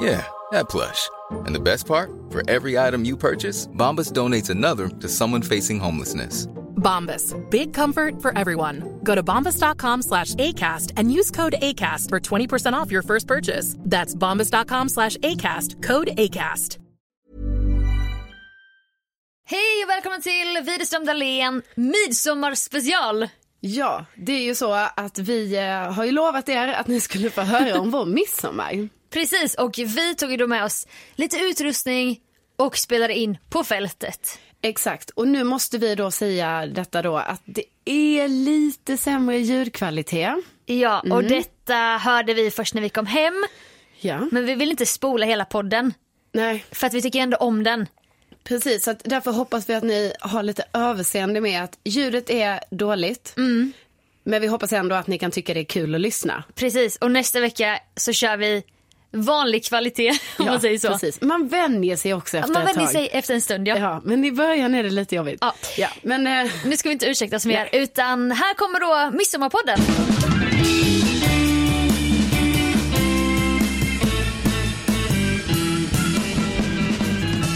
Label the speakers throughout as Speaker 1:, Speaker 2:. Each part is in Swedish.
Speaker 1: Yeah, that plush. And the best part? For every item you purchase, Bombas donates another to someone facing homelessness.
Speaker 2: Bombas. Big comfort for everyone. Go to bombas.com slash ACAST and use code ACAST for 20% off your first purchase. That's bombas.com slash ACAST. Code ACAST.
Speaker 3: Hej och välkommen till Widerström Dahlén midsommarspecial.
Speaker 4: Ja, det är ju så att vi eh, har ju lovat er att ni skulle få höra om vår midsommar.
Speaker 3: Precis, och vi tog ju då med oss lite utrustning och spelade in på fältet.
Speaker 4: Exakt, och nu måste vi då säga detta då att det är lite sämre ljudkvalitet.
Speaker 3: Ja, och
Speaker 4: Mm.
Speaker 3: detta hörde vi först när vi kom hem.
Speaker 4: Ja,
Speaker 3: Men vi vill inte spola hela podden,
Speaker 4: nej,
Speaker 3: för att vi tycker ändå om den.
Speaker 4: precis. Så att därför hoppas vi att ni har lite överseende med att ljudet är dåligt. Men vi hoppas ändå att ni kan tycka det är kul att lyssna.
Speaker 3: Precis, och nästa vecka så kör vi vanlig kvalitet, om man säger så.
Speaker 4: Precis. Man vänjer sig också efter
Speaker 3: Man
Speaker 4: ett
Speaker 3: vänjer
Speaker 4: tag.
Speaker 3: sig efter en stund, ja.
Speaker 4: Ja, men i början är det lite jobbigt.
Speaker 3: Ja.
Speaker 4: ja men... Eh...
Speaker 3: Nu ska vi inte ursäkta oss mer, utan här kommer då Midsommarpodden.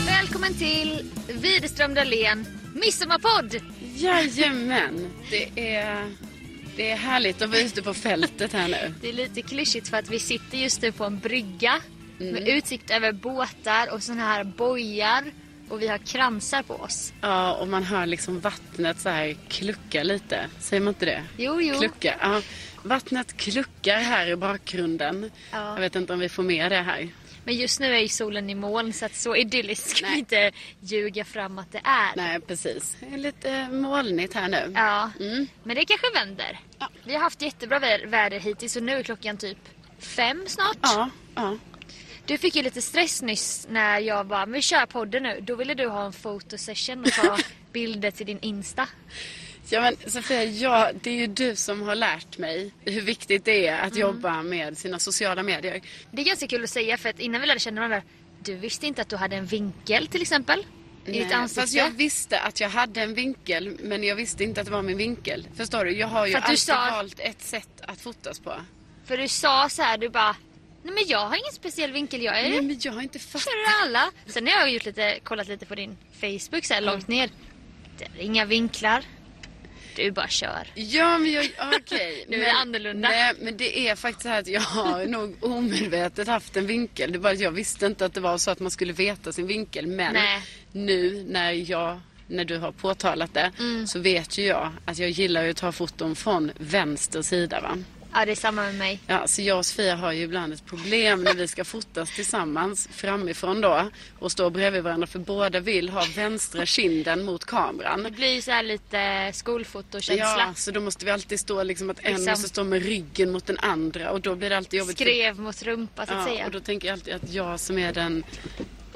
Speaker 3: Välkommen till Widerström Dahlén Midsommarpodd.
Speaker 4: Jajamän, det är, det är härligt att vara ute på fältet här nu.
Speaker 3: Det är lite klyschigt för att vi sitter just nu på en brygga med utsikt över båtar och såna här bojar och vi har kransar på oss.
Speaker 4: Ja, och man hör liksom vattnet så här klucka lite. Säger man inte det?
Speaker 3: Jo, jo.
Speaker 4: Klucka, ja. Vattnet kluckar här i bakgrunden.
Speaker 3: Ja.
Speaker 4: Jag vet inte om vi får med det här.
Speaker 3: Men just nu är ju solen i moln så att så idylliskt ska vi inte ljuga fram att det är.
Speaker 4: Nej, precis. Det är lite molnigt här nu.
Speaker 3: Ja,
Speaker 4: Mm.
Speaker 3: men det kanske vänder. Vi har haft jättebra vä- väder hittills och nu är klockan typ fem snart.
Speaker 4: Ja, ja.
Speaker 3: Du fick ju lite stress nyss när jag bara, men vi kör podden nu. Då ville du ha en fotosession och ta bilder till din Insta.
Speaker 4: Ja men Sofia, ja, det är ju du som har lärt mig hur viktigt det är att jobba med sina sociala medier.
Speaker 3: Det är ganska kul att säga för att innan vi lärde känna varandra, du visste inte att du hade en vinkel till exempel. I ditt
Speaker 4: Nej,
Speaker 3: ansikte.
Speaker 4: Fast jag visste att jag hade en vinkel men jag visste inte att det var min vinkel. Förstår du? Jag har ju
Speaker 3: För att du
Speaker 4: alltid
Speaker 3: sa-
Speaker 4: valt ett sätt att fotas på.
Speaker 3: För du sa så här, du bara, nej men jag har ingen speciell vinkel, jag är
Speaker 4: Nej men jag har inte fattat.
Speaker 3: för alla. Sen har jag gjort lite, kollat lite på din Facebook så här långt
Speaker 4: Mm.
Speaker 3: ner. Det är inga vinklar. Du bara kör.
Speaker 4: Ja men jag, okej.
Speaker 3: Du är
Speaker 4: Men-
Speaker 3: annorlunda.
Speaker 4: Nej men det är faktiskt så här att jag har nog omedvetet haft en vinkel. Det är bara att jag visste inte att det var så att man skulle veta sin vinkel. Men
Speaker 3: Nej.
Speaker 4: nu när jag när du har
Speaker 3: Mm.
Speaker 4: påtalat det så vet ju jag att jag gillar ju att ta foton från vänster sida va.
Speaker 3: Ja, det är samma med mig.
Speaker 4: Ja, så jag och Sofia har ju ibland ett problem när vi ska fotas tillsammans framifrån då och stå bredvid varandra för båda vill ha vänstra kinden mot
Speaker 3: Det
Speaker 4: kameran.
Speaker 3: blir ju så här lite skolfotokänsla.
Speaker 4: Ja, så då måste vi alltid stå liksom att en
Speaker 3: Liksom.
Speaker 4: måste stå med ryggen mot den andra och då blir det alltid jobbigt. för-
Speaker 3: Skrev mot rumpa så att
Speaker 4: ja,
Speaker 3: säga.
Speaker 4: och då tänker jag alltid att jag som är den,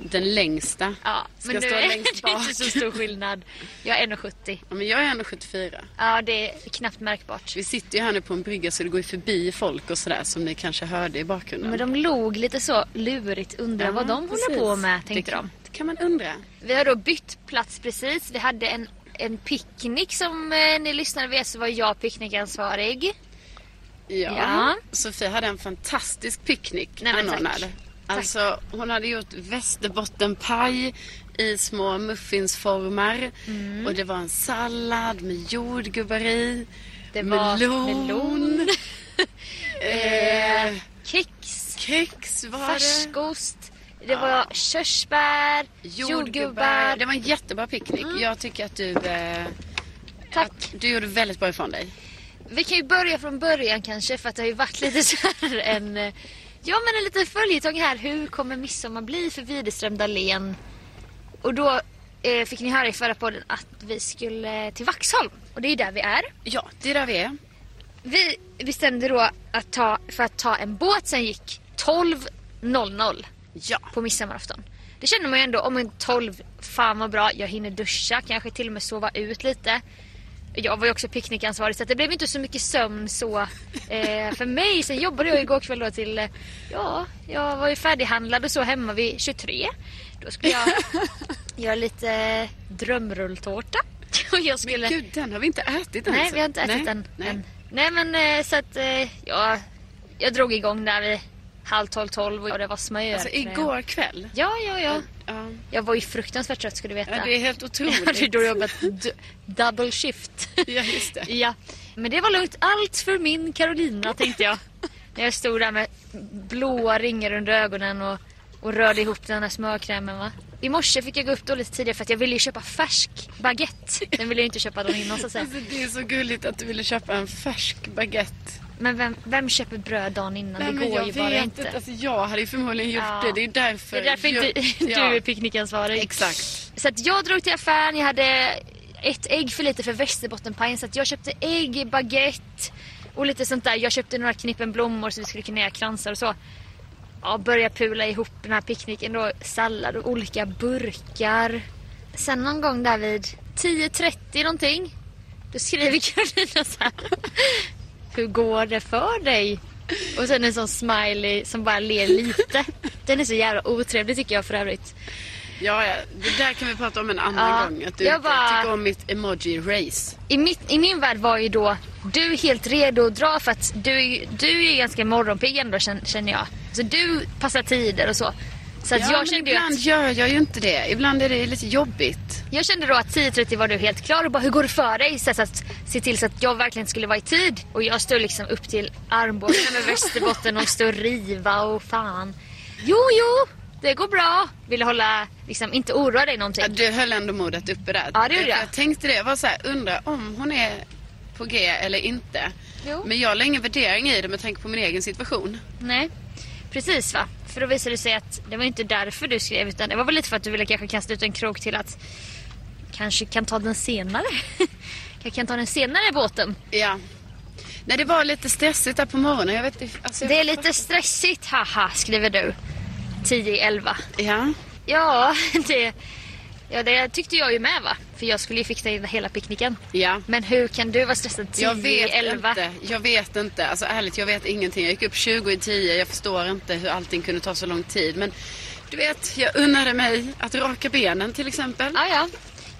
Speaker 4: den längsta
Speaker 3: Ja,
Speaker 4: ska
Speaker 3: men nu
Speaker 4: stå
Speaker 3: är
Speaker 4: längst
Speaker 3: det
Speaker 4: bak.
Speaker 3: inte så stor skillnad. Jag är 1,70.
Speaker 4: Ja, men jag är 1,74.
Speaker 3: Ja, det är knappt märkbart.
Speaker 4: Vi sitter ju här nu på en brygga så det går ju förbi folk och sådär som ni kanske hörde i bakgrunden.
Speaker 3: Men de låg lite så lurigt, undrar
Speaker 4: Ja,
Speaker 3: vad de
Speaker 4: precis.
Speaker 3: håller på med, tänkte
Speaker 4: det,
Speaker 3: de.
Speaker 4: Det kan man undra.
Speaker 3: Vi har då bytt plats precis. Vi hade en, en picknick som eh, ni lyssnare vet så var jag picknickansvarig.
Speaker 4: Ja.
Speaker 3: Ja.
Speaker 4: Sofia hade en fantastisk picknick
Speaker 3: Nej, men tack.
Speaker 4: anordnad. Alltså hon hade gjort västerbottenpaj i små muffinsformar. Och det var en sallad med jordgubbar i.
Speaker 3: Det var
Speaker 4: melon.
Speaker 3: melon.
Speaker 4: Eh,
Speaker 3: Kex,
Speaker 4: kex var det.
Speaker 3: färskost, det var körsbär, jordgubbar.
Speaker 4: Det var en jättebra picknick. Jag tycker att du, eh,
Speaker 3: Tack.
Speaker 4: att du gjorde väldigt bra ifrån dig.
Speaker 3: Vi kan ju börja från början kanske för att det har ju varit lite så här en... eh, Ja men en liten följetong här. Hur kommer midsommar bli för Widerström Dahlén? Och då eh, fick ni höra i förra podden att vi skulle till Vaxholm. Och det är ju där vi är.
Speaker 4: Ja, det är där vi är.
Speaker 3: Vi bestämde då att ta, för att ta en båt som gick 12.00
Speaker 4: Ja.
Speaker 3: på midsommarafton. Det känner man ju ändå, om en 12, fan vad bra, jag hinner duscha, kanske till och med sova ut lite. Jag var ju också picknickansvarig så att det blev inte så mycket sömn så eh, för mig. Sen jobbade jag igår kväll då till, eh, ja, jag var ju färdighandlad och så hemma vid 23. Då skulle jag göra lite drömrulltårta. Och jag skulle...
Speaker 4: Gud, den har vi inte ätit än.
Speaker 3: Nej,
Speaker 4: alltså.
Speaker 3: vi har inte ätit
Speaker 4: Nej,
Speaker 3: den
Speaker 4: nej.
Speaker 3: än. Nej, men eh, så att eh, ja, jag drog igång där vid halv tolv, tolv och det var smör.
Speaker 4: Alltså igår kväll.
Speaker 3: Ja, ja, ja.
Speaker 4: Ja.
Speaker 3: Jag var ju fruktansvärt trött ska du veta.
Speaker 4: Ja, det är helt
Speaker 3: Jag hade ju
Speaker 4: otroligt.
Speaker 3: då jobbat du- double shift.
Speaker 4: Ja, just det.
Speaker 3: ja. Men det var lugnt. Allt för min Carolina tänkte jag. När jag stod där med blåa ringar under ögonen och, och rörde ihop den här smörkrämen va. I morse fick jag gå upp då lite tidigare för att jag ville ju köpa färsk baguette. Den ville jag inte köpa dagen innan så att säga.
Speaker 4: Alltså, det är så gulligt att du ville köpa en färsk baguette.
Speaker 3: Men vem, vem köper bröd dagen innan?
Speaker 4: Nej,
Speaker 3: det
Speaker 4: men
Speaker 3: går
Speaker 4: jag
Speaker 3: ju
Speaker 4: vet
Speaker 3: bara
Speaker 4: inte.
Speaker 3: inte.
Speaker 4: Alltså, jag hade ju förmodligen gjort
Speaker 3: Ja.
Speaker 4: det. Det är därför.
Speaker 3: Det är därför
Speaker 4: jag-
Speaker 3: inte
Speaker 4: Ja.
Speaker 3: du är picknickansvarig.
Speaker 4: Exakt.
Speaker 3: Så att jag drog till affären, jag hade ett ägg för lite för västerbottenpajen så att jag köpte ägg, baguette och lite sånt där. Jag köpte några knippen blommor så vi skulle kunna göra kransar och så. Ja, börja pula ihop den här picknicken då. Sallad och olika burkar. Sen någon gång där vid 10.30 någonting. Då skriver Karolina så här. Hur går det för dig? Och sen en sån smiley som bara ler lite. Den är så jävla otrevlig tycker jag för övrigt.
Speaker 4: Ja, ja, det där kan vi prata om en annan
Speaker 3: Ja,
Speaker 4: gång. Att du
Speaker 3: jag
Speaker 4: inte
Speaker 3: bara-
Speaker 4: tycker om mitt emoji-race.
Speaker 3: I, mitt, I min värld var ju då du helt redo att dra för att du, är ju- du är ju ganska morgonpigg ändå kän- känner jag. Så du passar tider och så. Så att
Speaker 4: Ja, men
Speaker 3: Alltså, jag, kände ju
Speaker 4: ibland
Speaker 3: att,
Speaker 4: gör jag ju inte det. Ibland är det lite jobbigt.
Speaker 3: jag kände då att 10.30 var du helt klar och bara hur går det för dig? Så att, så att se till så att jag verkligen skulle vara i tid. Och jag stod liksom upp till armbågarna med Västerbotten och stod och riva och fan. Jo, jo, det går bra. Ville hålla, liksom inte oroa dig någonting.
Speaker 4: Ja, du höll ändå modet uppe där.
Speaker 3: Ja, det gjorde jag.
Speaker 4: jag tänkte det. Jag var så här, undrar om hon är på G eller inte.
Speaker 3: Jo.
Speaker 4: Men jag la ingen värdering i det med tanke på min egen situation.
Speaker 3: Nej, precis va. För då visade det sig att det var inte därför du skrev utan det var väl lite för att du ville kanske kasta ut en krok till att kanske kan ta den senare. Jag kan ta den senare båten.
Speaker 4: Ja. Nej, det var lite stressigt där på morgonen. Jag vet, inte- alltså, jag
Speaker 3: Det är lite stressigt, haha, skriver du. 10-11.
Speaker 4: Ja.
Speaker 3: Ja, det, ja, det tyckte jag ju med va. För jag skulle ju fixa in hela picknicken.
Speaker 4: Ja.
Speaker 3: Men hur kan du vara stressad
Speaker 4: Jag vet
Speaker 3: 10-11?
Speaker 4: inte. Jag vet inte. Alltså ärligt, jag vet ingenting. Jag gick upp 20 i 10. Jag förstår inte hur allting kunde ta så lång tid. Men du vet, jag unnade mig att raka benen till exempel.
Speaker 3: Ah, ja.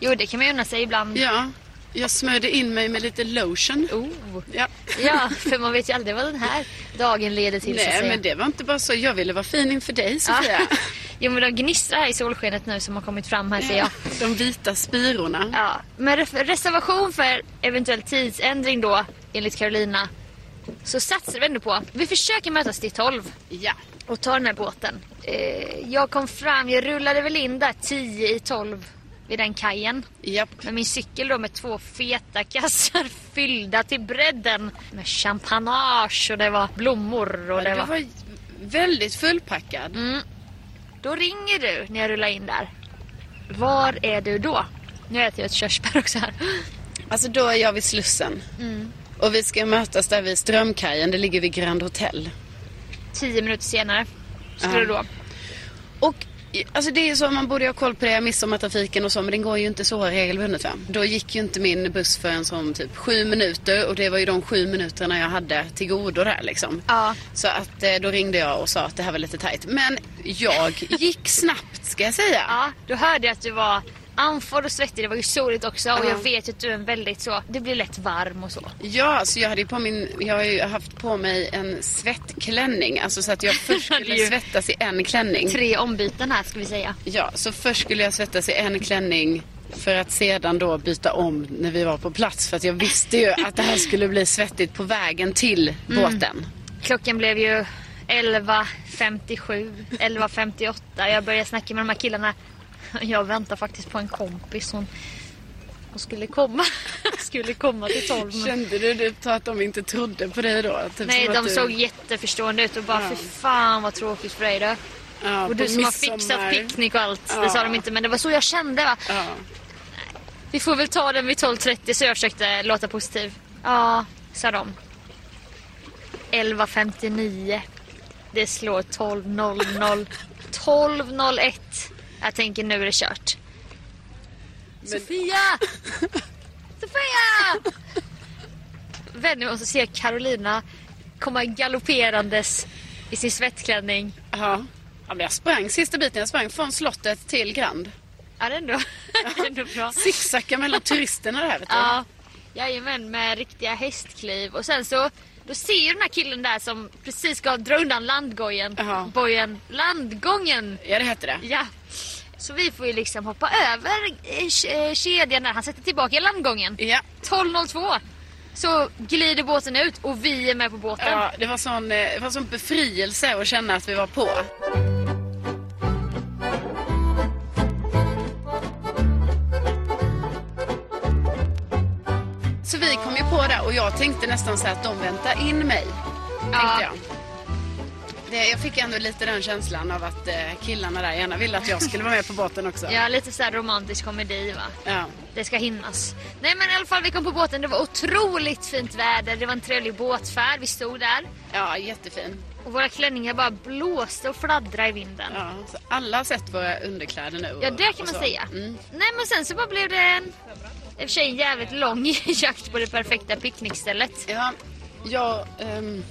Speaker 3: Jo, det kan man ju unna sig ibland.
Speaker 4: Ja. Jag smörjde in mig med lite lotion.
Speaker 3: Oh.
Speaker 4: Ja.
Speaker 3: Ja, för man vet ju aldrig vad den här dagen leder till. Ah. så att
Speaker 4: Nej,
Speaker 3: säga.
Speaker 4: men det var inte bara så. Jag ville vara fin inför dig, Sofia.
Speaker 3: Ja. Jo men de gnistrar här i solskenet nu som har kommit fram här ser jag. Ah.
Speaker 4: De vita spirorna.
Speaker 3: Ja. Med ref- reservation för eventuell tidsändring då, enligt Carolina, så satsar vi ändå på. Vi försöker mötas till 12
Speaker 4: Ja.
Speaker 3: och ta den här båten. Eh, jag kom fram, jag rullade väl in där 10 i 12 vid den kajen.
Speaker 4: Japp.
Speaker 3: Med min cykel då med två feta kassar fyllda till bredden. Med champanage och det var blommor och det
Speaker 4: Du
Speaker 3: var...
Speaker 4: var väldigt fullpackad.
Speaker 3: Då ringer du när jag rullar in där. Var är du då? Nu äter jag ett körsbär också här.
Speaker 4: Alltså då är jag vid Slussen.
Speaker 3: Mm.
Speaker 4: Och vi ska mötas där vid Strömkajen. Det ligger vid Grand Hotel.
Speaker 3: Tio minuter senare skulle
Speaker 4: Ja.
Speaker 3: du då.
Speaker 4: Och i- alltså det är ju så, man borde ju ha koll på det, midsommartrafiken och så, men den går ju inte så regelbundet va. Då gick ju inte min buss förrän som typ sju minuter och det var ju de sju minuterna jag hade till godo där liksom.
Speaker 3: Ja.
Speaker 4: Så att eh, då ringde jag och sa att det här var lite tajt. Men jag gick snabbt ska jag säga.
Speaker 3: Ja, då hörde jag att du var andfådd och svettig. Det var ju soligt också och
Speaker 4: Ja. Mm.
Speaker 3: jag vet ju att du är en väldigt så... Du blir lätt varm och så.
Speaker 4: Ja, så jag hade ju på min, jag har ju haft på mig en svettklänning. Alltså så att jag först
Speaker 3: Hade
Speaker 4: skulle
Speaker 3: ju-
Speaker 4: svettas i en klänning.
Speaker 3: Tre ombyten här ska vi säga.
Speaker 4: Ja, så först skulle jag svettas i en klänning för att sedan då byta om när vi var på plats. För att jag visste ju att det här skulle bli svettigt på vägen till båten.
Speaker 3: Klockan blev ju 11.57, 11.58. Jag började snacka med de här killarna. Jag väntar faktiskt på en kompis. Hon, hon skulle komma. skulle komma till 12. men-
Speaker 4: Kände du typ att de inte trodde på dig då? Typ
Speaker 3: Nej,
Speaker 4: som att
Speaker 3: de
Speaker 4: du-
Speaker 3: såg jätteförstående ut och bara fy fan vad tråkigt för dig då.
Speaker 4: ja,
Speaker 3: Och du
Speaker 4: på
Speaker 3: som har fixat
Speaker 4: midsommar.
Speaker 3: picknick och allt. Det sa de inte men det var så jag kände va.
Speaker 4: Ja.
Speaker 3: Vi får väl ta den vid 12.30 så jag försökte låta positiv. Ja, sa de. 11.59. Det slår 12.00. 12.01. Jag tänker nu är det kört. Sofia! Sofia! Vänder mig om så ser jag Carolina komma galopperandes i sin svettklänning.
Speaker 4: Ja. ja, men jag sprang sista biten. Jag sprang från slottet till Grand.
Speaker 3: Ja, det är ändå, det är ändå bra.
Speaker 4: Sicksacka mellan turisterna där vet du.
Speaker 3: Ja, jajamän med riktiga hästkliv. Och sen så, då ser ju den här killen där som precis ska dra undan landgången.
Speaker 4: Jaha.
Speaker 3: Bojen, landgången!
Speaker 4: Ja, det hette det.
Speaker 3: Ja. Så vi får ju liksom hoppa över eh, ke- eh, kedjan där. Han sätter tillbaka landgången.
Speaker 4: Ja.
Speaker 3: 12.02! Så glider båten ut och vi är med på båten.
Speaker 4: Ja, det var sån, eh, det var sån befrielse att känna att vi var på. Så vi kom ju på det och jag tänkte nästan så här att de väntar in mig. Tänkte jag. Det, jag fick ändå lite den känslan av att eh, killarna där gärna ville att jag skulle vara med på båten också.
Speaker 3: Ja, lite så här romantisk komedi va.
Speaker 4: Ja.
Speaker 3: Det ska hinnas. Nej men i alla fall vi kom på båten. Det var otroligt fint väder. Det var en trevlig båtfärd. Vi stod där.
Speaker 4: ja, jättefin.
Speaker 3: Och våra klänningar bara blåste och fladdrade i vinden. Ja,
Speaker 4: Ja, så alla har sett våra underkläder nu. och-
Speaker 3: det kan
Speaker 4: och
Speaker 3: man
Speaker 4: så.
Speaker 3: säga.
Speaker 4: Mm.
Speaker 3: Nej men sen så bara blev det en, i och för sig en jävligt lång jakt på det perfekta picknickstället.
Speaker 4: Ja, jag, ehm,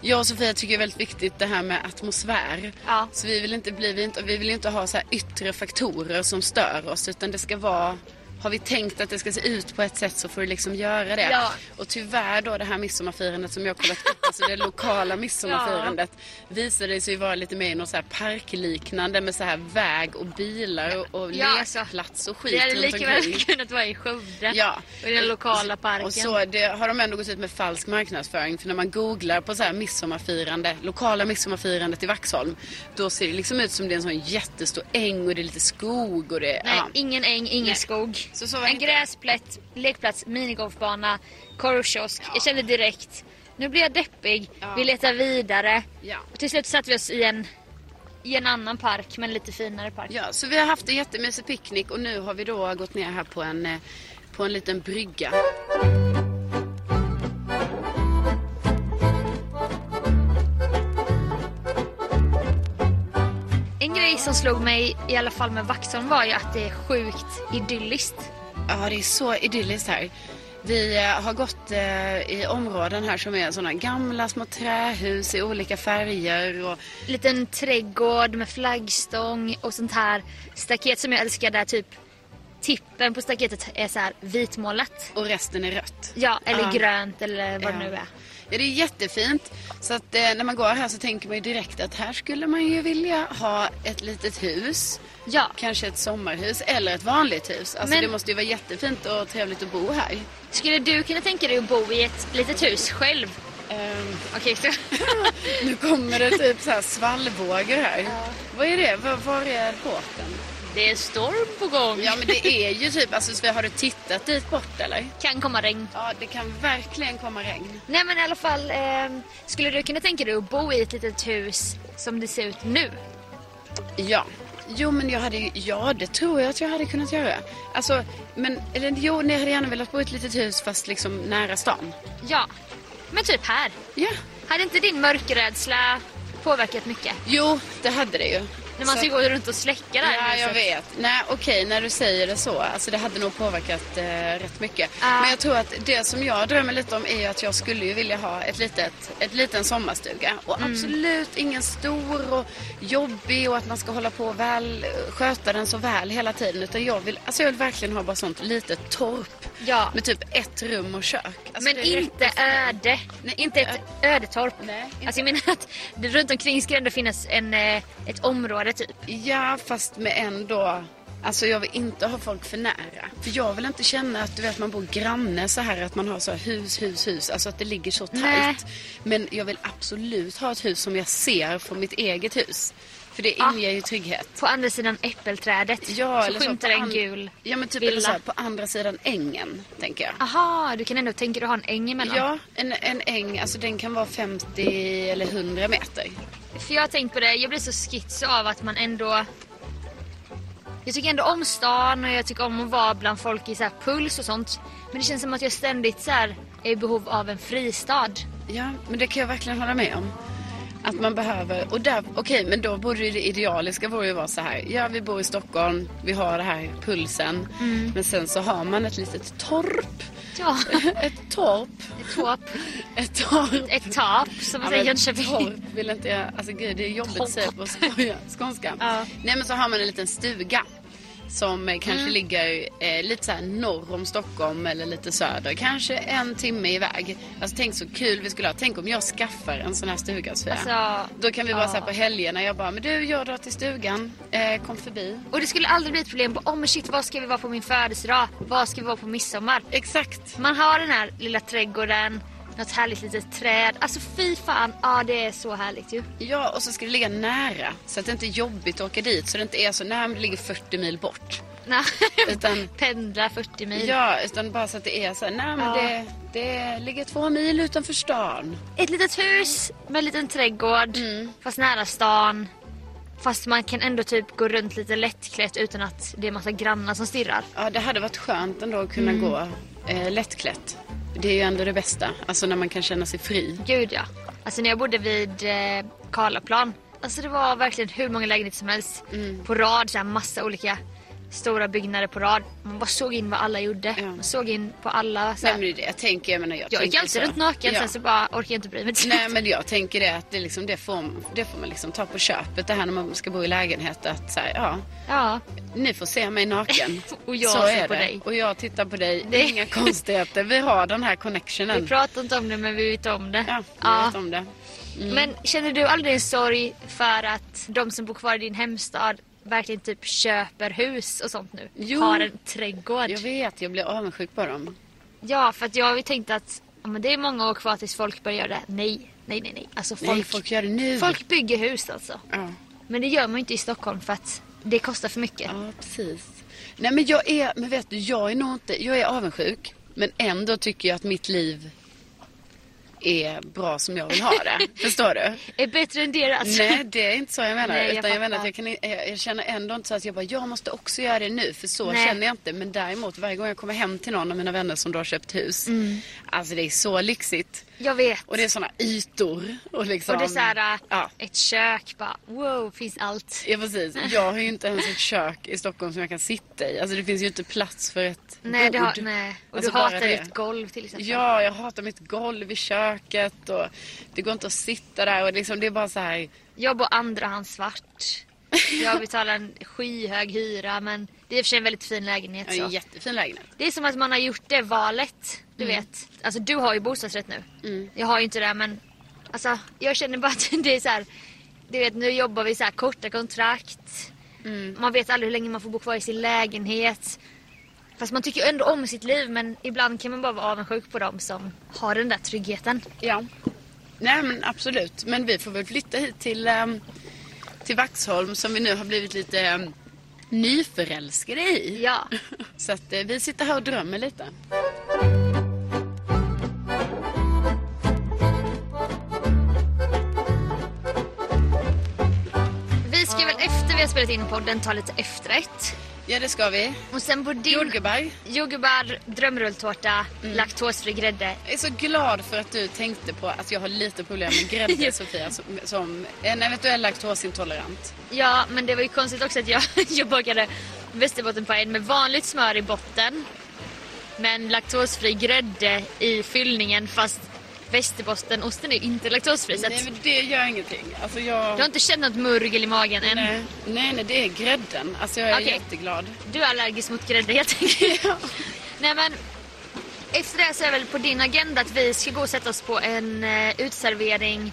Speaker 4: jag och Sofia tycker det är väldigt viktigt det här med atmosfär.
Speaker 3: Ja.
Speaker 4: Så vi vill inte bli, vi, inte, vi vill inte ha så här yttre faktorer som stör oss utan det ska vara har vi tänkt att det ska se ut på ett sätt så får du liksom göra det.
Speaker 3: Ja.
Speaker 4: Och tyvärr då det här midsommarfirandet som jag kollat upp, alltså det lokala midsommarfirandet visade sig vara lite mer i något så här parkliknande med så här väg och bilar och, och
Speaker 3: Ja, alltså,
Speaker 4: lekplats och skit
Speaker 3: Det hade
Speaker 4: runt
Speaker 3: lika
Speaker 4: omkring.
Speaker 3: väl kunnat vara i Skövde.
Speaker 4: Ja.
Speaker 3: Och i den lokala parken.
Speaker 4: Och så det, har de ändå gått ut med falsk marknadsföring. För när man googlar på så här midsommarfirande, lokala midsommarfirandet i Vaxholm. Då ser det liksom ut som det är en sån jättestor äng och det är lite skog och det...
Speaker 3: Nej,
Speaker 4: ja.
Speaker 3: ingen äng, ingen skog.
Speaker 4: Så så var det
Speaker 3: en
Speaker 4: inte.
Speaker 3: gräsplätt, lekplats, minigolfbana, korvkiosk. Jag kände direkt, nu blir jag deppig. Vi letar vidare.
Speaker 4: Ja.
Speaker 3: Och till slut satte vi oss i en, i en annan park, men lite finare park.
Speaker 4: ja, så vi har haft en jättemysig picknick och nu har vi då gått ner här på en, eh, på en liten brygga.
Speaker 3: En grej som slog mig, i alla fall med Vaxholm, var ju att det är sjukt idylliskt.
Speaker 4: Ja, det är så idylliskt här. Vi eh, har gått eh, i områden här som är sådana gamla små trähus i olika färger och
Speaker 3: Liten trädgård med flaggstång och sånt här staket som jag älskar där typ tippen på staketet är så här vitmålat.
Speaker 4: Och resten är rött.
Speaker 3: Ja, eller
Speaker 4: Ja.
Speaker 3: grönt eller vad det
Speaker 4: Ja.
Speaker 3: nu är.
Speaker 4: Ja, det är jättefint. Så att eh, när man går här så tänker man ju direkt att här skulle man ju vilja ha ett litet hus.
Speaker 3: Ja,
Speaker 4: Kanske ett sommarhus eller ett vanligt hus. Alltså
Speaker 3: Men-
Speaker 4: det måste ju vara jättefint och trevligt att bo här.
Speaker 3: skulle du kunna tänka dig att bo i ett litet hus själv?
Speaker 4: Ehm,
Speaker 3: Okej, så...
Speaker 4: nu kommer det typ så här svallvågor här. Vad är det? Var, var är båten?
Speaker 3: Det är storm på gång.
Speaker 4: Ja men det är ju typ, alltså så vi har du tittat dit bort eller?
Speaker 3: Kan komma regn.
Speaker 4: Ja det kan verkligen komma regn.
Speaker 3: Nej men i alla fall, ehm, skulle du kunna tänka dig att bo i ett litet hus som det ser ut nu?
Speaker 4: Ja. Jo men jag hade ju, ja det tror jag att jag hade kunnat göra. Alltså, men, eller jo, nej, jag hade gärna velat bo i ett litet hus fast liksom nära stan.
Speaker 3: Ja, men typ här.
Speaker 4: Ja.
Speaker 3: Hade inte din mörkerrädsla påverkat mycket?
Speaker 4: Jo, det hade det ju.
Speaker 3: När man
Speaker 4: Så-
Speaker 3: ska gå runt och släcka det här
Speaker 4: Ja, jag
Speaker 3: huset.
Speaker 4: vet. Nej, okej, när du säger det så. Alltså det hade nog påverkat eh, rätt mycket.
Speaker 3: Ah.
Speaker 4: Men jag tror att det som jag drömmer lite om är ju att jag skulle ju vilja ha ett litet, ett liten sommarstuga. Och
Speaker 3: Mm.
Speaker 4: absolut ingen stor och jobbig och att man ska hålla på och väl, sköta den så väl hela tiden. Utan jag vill, alltså jag vill verkligen ha bara sånt litet torp.
Speaker 3: Ja.
Speaker 4: Med typ ett rum och kök. Alltså
Speaker 3: men
Speaker 4: det
Speaker 3: inte
Speaker 4: räcker.
Speaker 3: öde.
Speaker 4: Nej,
Speaker 3: inte
Speaker 4: inte
Speaker 3: ett ödetorp.
Speaker 4: Nej, inte
Speaker 3: Alltså jag menar att det runt omkring ska det ändå finnas en, eh, ett område typ.
Speaker 4: Ja, fast med ändå... Alltså jag vill inte ha folk för nära. För jag vill inte känna att du vet man bor granne så här att man har så här hus, hus, hus. Alltså att det ligger så tajt.
Speaker 3: Nej.
Speaker 4: Men jag vill absolut ha ett hus som jag ser från mitt eget hus. För det
Speaker 3: Ah.
Speaker 4: inger ju trygghet.
Speaker 3: På andra sidan äppelträdet
Speaker 4: Ja,
Speaker 3: så skymtar
Speaker 4: på
Speaker 3: en
Speaker 4: an-
Speaker 3: gul
Speaker 4: Ja men typ
Speaker 3: villa.
Speaker 4: eller så här, på andra sidan ängen, tänker jag.
Speaker 3: Aha, du kan ändå tänka dig att ha en äng emellan.
Speaker 4: Ja, en, en äng, alltså den kan vara 50 eller 100 meter.
Speaker 3: För jag har tänkt på det, jag blir så schizo av att man ändå... Jag tycker ändå om stan och jag tycker om att vara bland folk i så här puls och sånt. Men det känns som att jag ständigt så här är i behov av en fristad.
Speaker 4: Ja, men det kan jag verkligen hålla med om. Att man behöver, och där, okej men då borde ju det idealiska vore ju vara så här. Ja vi bor i Stockholm, vi har det här pulsen. Men sen så har man ett litet torp.
Speaker 3: Ja,
Speaker 4: Ett torp.
Speaker 3: ett tåp.
Speaker 4: Ett torp.
Speaker 3: Ett tap som man
Speaker 4: Ja,
Speaker 3: säger i
Speaker 4: men
Speaker 3: Jönköping.
Speaker 4: torp vill inte jag, alltså gud det är jobbigt att säga på
Speaker 3: Torp.
Speaker 4: skoja, skånska.
Speaker 3: Ja.
Speaker 4: Nej men så har man en liten stuga. Som eh, kanske
Speaker 3: Mm.
Speaker 4: ligger eh, lite så här norr om Stockholm eller lite söder. Kanske en timme iväg. Alltså tänk så kul vi skulle ha. Tänk om jag skaffar en sån här stuga Sofia.
Speaker 3: Alltså,
Speaker 4: Då kan vi vara
Speaker 3: ja.
Speaker 4: så här på helgerna. Jag bara, men du, jag drar till stugan. Eh, kom förbi.
Speaker 3: Och det skulle aldrig bli ett problem på, oh men shit, vad ska vi vara på min födelsedag? Vad ska vi vara på midsommar?
Speaker 4: Exakt.
Speaker 3: Man har den här lilla trädgården, något härligt litet träd. Alltså fy fan, ja det är så härligt ju.
Speaker 4: Ja, och så ska det ligga nära. Så att det inte är jobbigt att åka dit. Så det inte är så, nej, men det ligger 40 mil bort.
Speaker 3: Nej.
Speaker 4: Utan-
Speaker 3: Pendla 40 mil.
Speaker 4: Ja, utan bara så att det är så här, nej men
Speaker 3: Mm. Ja.
Speaker 4: det, det ligger två mil utanför stan.
Speaker 3: Ett litet hus med en liten trädgård,
Speaker 4: Mm.
Speaker 3: fast nära stan. Fast man kan ändå typ gå runt lite lättklätt utan att det är massa grannar som stirrar.
Speaker 4: Ja, det hade varit skönt ändå att kunna
Speaker 3: Mm.
Speaker 4: gå eh, lättklätt. Det är ju ändå det bästa. Alltså när man kan känna sig fri.
Speaker 3: Gud ja. Alltså när jag bodde vid eh, Karlaplan. Alltså det var verkligen hur många lägenheter som helst
Speaker 4: Mm.
Speaker 3: på rad. Så här massa olika stora byggnader på rad. Man bara såg in vad alla gjorde.
Speaker 4: Ja.
Speaker 3: Man såg in på alla. Så
Speaker 4: Nej,
Speaker 3: här.
Speaker 4: men det är det jag tänker. Jag menar, jag
Speaker 3: jag gick
Speaker 4: tänker
Speaker 3: alltid
Speaker 4: så.
Speaker 3: runt naken
Speaker 4: Ja.
Speaker 3: sen så bara orkade jag inte bry mig.
Speaker 4: Nej men jag tänker det att det, liksom, det, får, det får man liksom ta på köpet det här när man ska bo i lägenhet att så här, ja,
Speaker 3: Ja.
Speaker 4: ni får se mig naken.
Speaker 3: Och jag
Speaker 4: så
Speaker 3: ser
Speaker 4: är
Speaker 3: på
Speaker 4: det.
Speaker 3: dig.
Speaker 4: Och jag tittar på dig.
Speaker 3: Det-
Speaker 4: Inga konstigheter. Vi har den här
Speaker 3: Vi
Speaker 4: connectionen.
Speaker 3: pratar inte om det men vi vet om det.
Speaker 4: Ja, jag
Speaker 3: Ja.
Speaker 4: vet om det. Mm.
Speaker 3: Men känner du aldrig en sorg för att de som bor kvar i din hemstad verkligen typ köper hus och sånt nu?
Speaker 4: Jo.
Speaker 3: Har en trädgård.
Speaker 4: Jag vet, jag blir avundsjuk på dem.
Speaker 3: Ja, för att jag har ju tänkt att ja, men det är många år kvar tills folk börjar göra det. Nej, nej, nej, nej. Alltså folk,
Speaker 4: Nej, folk gör det nu.
Speaker 3: folk bygger hus alltså.
Speaker 4: Ja.
Speaker 3: Men det gör man ju inte i Stockholm för att det kostar för mycket.
Speaker 4: Ja, precis. Nej, men jag är, men vet du, jag är nog inte, jag är avundsjuk. Men ändå tycker jag att mitt liv är bra som jag vill ha det. Förstår du?
Speaker 3: Är bättre än deras.
Speaker 4: Nej, det är inte så jag menar.
Speaker 3: Nej, jag
Speaker 4: utan jag, menar att
Speaker 3: fattar.
Speaker 4: jag, kan, i- jag, jag känner ändå inte så att jag bara, jag måste också göra det nu. För så
Speaker 3: Nej.
Speaker 4: känner jag inte. Men däremot varje gång jag kommer hem till någon av mina vänner som då har köpt hus.
Speaker 3: Mm.
Speaker 4: Alltså det är så lyxigt.
Speaker 3: Jag vet.
Speaker 4: Och det är sådana ytor. Och, liksom,
Speaker 3: Och det är så här, äh,
Speaker 4: Ja.
Speaker 3: ett kök bara, wow, finns allt.
Speaker 4: Ja precis. Jag har ju inte ens ett kök i Stockholm som jag kan sitta i. Alltså det finns ju inte plats för ett
Speaker 3: Nej, det
Speaker 4: bord.
Speaker 3: har, nej. Och
Speaker 4: Alltså,
Speaker 3: du
Speaker 4: bara
Speaker 3: hatar
Speaker 4: det.
Speaker 3: ditt golv till exempel.
Speaker 4: Ja, jag hatar mitt golv i köket och det går inte att sitta där och liksom det är bara så här.
Speaker 3: Jag bor andra hand svart. Jag betalar en skyhög hyra men det är i och för sig en väldigt fin lägenhet.
Speaker 4: Ja, det är en
Speaker 3: Så.
Speaker 4: jättefin lägenhet.
Speaker 3: Det är som att man har gjort det valet. Du vet. Alltså du har ju bostadsrätt nu. Jag har ju inte det men alltså, jag känner bara att det är så här. Du vet nu jobbar vi så här korta kontrakt. Man vet aldrig hur länge man får bo kvar i sin lägenhet. Fast man tycker ju ändå om sitt liv men ibland kan man bara vara avundsjuk på dem som har den där tryggheten.
Speaker 4: Ja. Nej men absolut. Men vi får väl flytta hit till, ehm, till Vaxholm som vi nu har blivit lite ehm, nyförälskade i.
Speaker 3: Ja.
Speaker 4: Så att eh, vi sitter här och drömmer lite.
Speaker 3: Vi ska väl efter vi har spelat in podden ta lite efterrätt.
Speaker 4: Ja, det ska vi.
Speaker 3: Och sen på din...
Speaker 4: Jordgubbar,
Speaker 3: Jordgubbar, drömrulltårta,
Speaker 4: Mm.
Speaker 3: laktosfri grädde.
Speaker 4: jag är så glad för att du tänkte på att jag har lite problem med grädde, Sofia, som, som en eventuell laktosintolerant.
Speaker 3: Ja, men det var ju konstigt också att jag, jag bakade västerbottenpajen med vanligt smör i botten. Men laktosfri grädde i fyllningen fast västerbottenosten är ju inte laktosfri. Så
Speaker 4: Nej,
Speaker 3: att
Speaker 4: men det gör ingenting. Alltså jag...
Speaker 3: jag har inte känt något murgel i magen än.
Speaker 4: Nej, nej, nej, det är grädden. Alltså jag är
Speaker 3: Okej.
Speaker 4: jätteglad.
Speaker 3: Du är allergisk mot grädde helt enkelt. Nej men, efter det här så är väl på din agenda att vi ska gå och sätta oss på en eh, utservering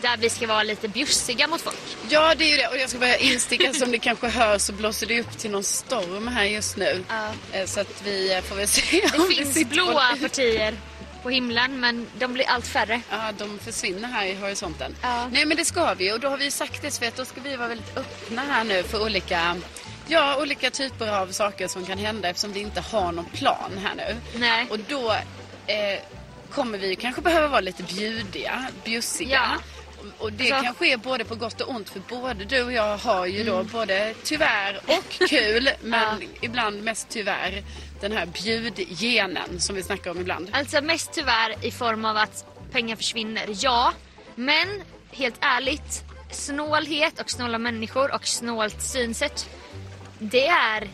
Speaker 3: där vi ska vara lite bjussiga mot folk.
Speaker 4: Ja, det är ju det. Och jag ska bara insticka, som ni kanske hör så blåser det upp till någon storm här just nu.
Speaker 3: Ja.
Speaker 4: Eh, Så att vi eh, får väl se
Speaker 3: Det
Speaker 4: om vi
Speaker 3: finns
Speaker 4: sitter på-
Speaker 3: blåa partier på himlen men de blir allt färre.
Speaker 4: Ja, de försvinner här i horisonten.
Speaker 3: Ja.
Speaker 4: Nej, men det ska vi. Och då har vi ju sagt det, för att då ska vi vara väldigt öppna här nu för olika, ja, olika typer av saker som kan hända eftersom vi inte har någon plan här nu.
Speaker 3: Nej.
Speaker 4: Och då eh, kommer vi ju kanske behöva vara lite bjudiga, bjussiga.
Speaker 3: Ja.
Speaker 4: Och det
Speaker 3: Alltså-
Speaker 4: kanske är både på gott och ont för både du och jag har ju
Speaker 3: Mm.
Speaker 4: då både tyvärr och kul men ibland mest tyvärr den här bjudgenen som vi snackar om ibland.
Speaker 3: Alltså mest tyvärr i form av att pengar försvinner, ja. Men helt ärligt, snålhet och snåla människor och snålt synsätt. Det är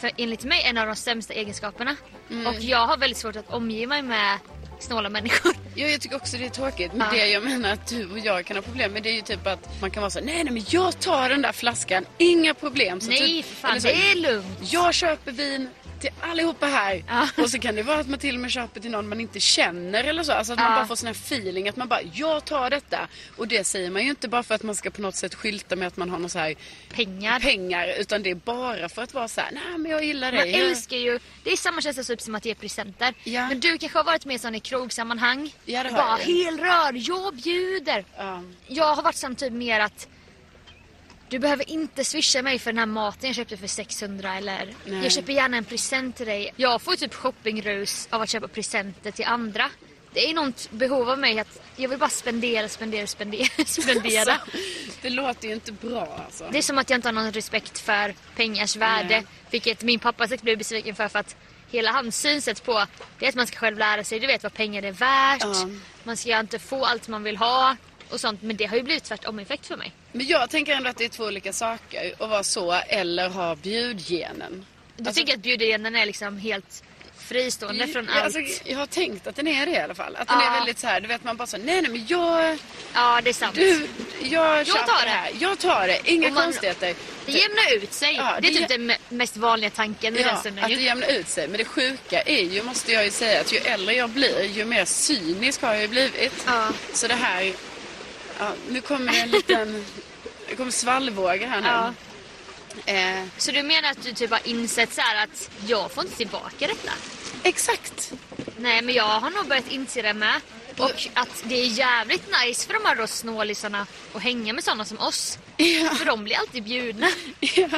Speaker 3: för, enligt mig en av de sämsta egenskaperna.
Speaker 4: Mm.
Speaker 3: Och jag har väldigt svårt att omge mig med snåla människor.
Speaker 4: Ja, jag tycker också det är tråkigt. Men
Speaker 3: Ja.
Speaker 4: det jag menar att du och jag kan ha problem med det är ju typ att man kan vara så nej, nej men jag tar den där flaskan, inga problem. Så
Speaker 3: Nej
Speaker 4: typ,
Speaker 3: för fan,
Speaker 4: eller så,
Speaker 3: det är lugnt.
Speaker 4: Jag köper vin till allihopa här.
Speaker 3: Ja.
Speaker 4: Och så kan det vara att man till och med köper till någon man inte känner eller så. Alltså att man
Speaker 3: Ja.
Speaker 4: bara får sån här feeling att man bara, jag tar detta. Och det säger man ju inte bara för att man ska på något sätt skylta med att man har någon så här
Speaker 3: Pengar.
Speaker 4: pengar. Utan det är bara för att vara så här, nej men jag gillar
Speaker 3: Man
Speaker 4: dig. Jag-
Speaker 3: älskar ju, det är samma känsla typ som att ge presenter.
Speaker 4: Ja.
Speaker 3: Men du kanske har varit med sån i krogsammanhang.
Speaker 4: Ja, det har
Speaker 3: Bara
Speaker 4: jag ju.
Speaker 3: helrör, jag bjuder.
Speaker 4: Ja.
Speaker 3: Jag har varit sån typ mer att du behöver inte swisha mig för den här maten jag köpte för 600 eller
Speaker 4: Nej.
Speaker 3: jag köper gärna en present till dig. Jag får ju typ shoppingrus av att köpa presenter till andra. Det är något behov av mig att jag vill bara spendera, spendera, spendera, spendera.
Speaker 4: Det låter ju inte bra alltså.
Speaker 3: Det är som att jag inte har någon respekt för pengars värde.
Speaker 4: Nej.
Speaker 3: Vilket min pappa säkert blev besviken för. För att hela hans synsätt på det är att man ska själv lära sig. Du vet vad pengar är värt.
Speaker 4: Ja.
Speaker 3: Man ska inte få allt man vill ha. Och sånt. Men det har ju blivit tvärtom effekt för mig.
Speaker 4: Men jag tänker ändå att det är två olika saker. Att vara så eller ha bjudgenen.
Speaker 3: Du tycker att bjudgenen är liksom helt fristående från
Speaker 4: Alltså- Ja,
Speaker 3: allt.
Speaker 4: alltså, jag har tänkt att den är det i alla fall. Att den
Speaker 3: Ja.
Speaker 4: är väldigt så här, du vet man bara så nej nej men jag,
Speaker 3: ja, det är sant.
Speaker 4: du, jag,
Speaker 3: tar
Speaker 4: köper
Speaker 3: det.
Speaker 4: här. Jag tar det, inga
Speaker 3: Och man-
Speaker 4: konstigheter.
Speaker 3: Det jämnar ut sig.
Speaker 4: Ja,
Speaker 3: det är
Speaker 4: det
Speaker 3: typ
Speaker 4: gör-
Speaker 3: den me- mest vanliga tanken i den
Speaker 4: Ja,
Speaker 3: stunden.
Speaker 4: att det
Speaker 3: ju.
Speaker 4: jämnar ut sig. Men det sjuka är ju, måste jag ju säga, att ju äldre jag blir, ju mer cynisk har jag ju blivit.
Speaker 3: Ja.
Speaker 4: Så det här, ja, nu kommer en liten, det kommer svallvågor här
Speaker 3: Ja.
Speaker 4: nu. Eh,
Speaker 3: Så du menar att du typ har insett så här att jag får inte tillbaka detta?
Speaker 4: exakt.
Speaker 3: Nej, men jag har nog börjat inse det med. Och att det är jävligt nice för de här då snålisarna att hänga med sådana som oss. För de blir alltid bjudna.
Speaker 4: Ja.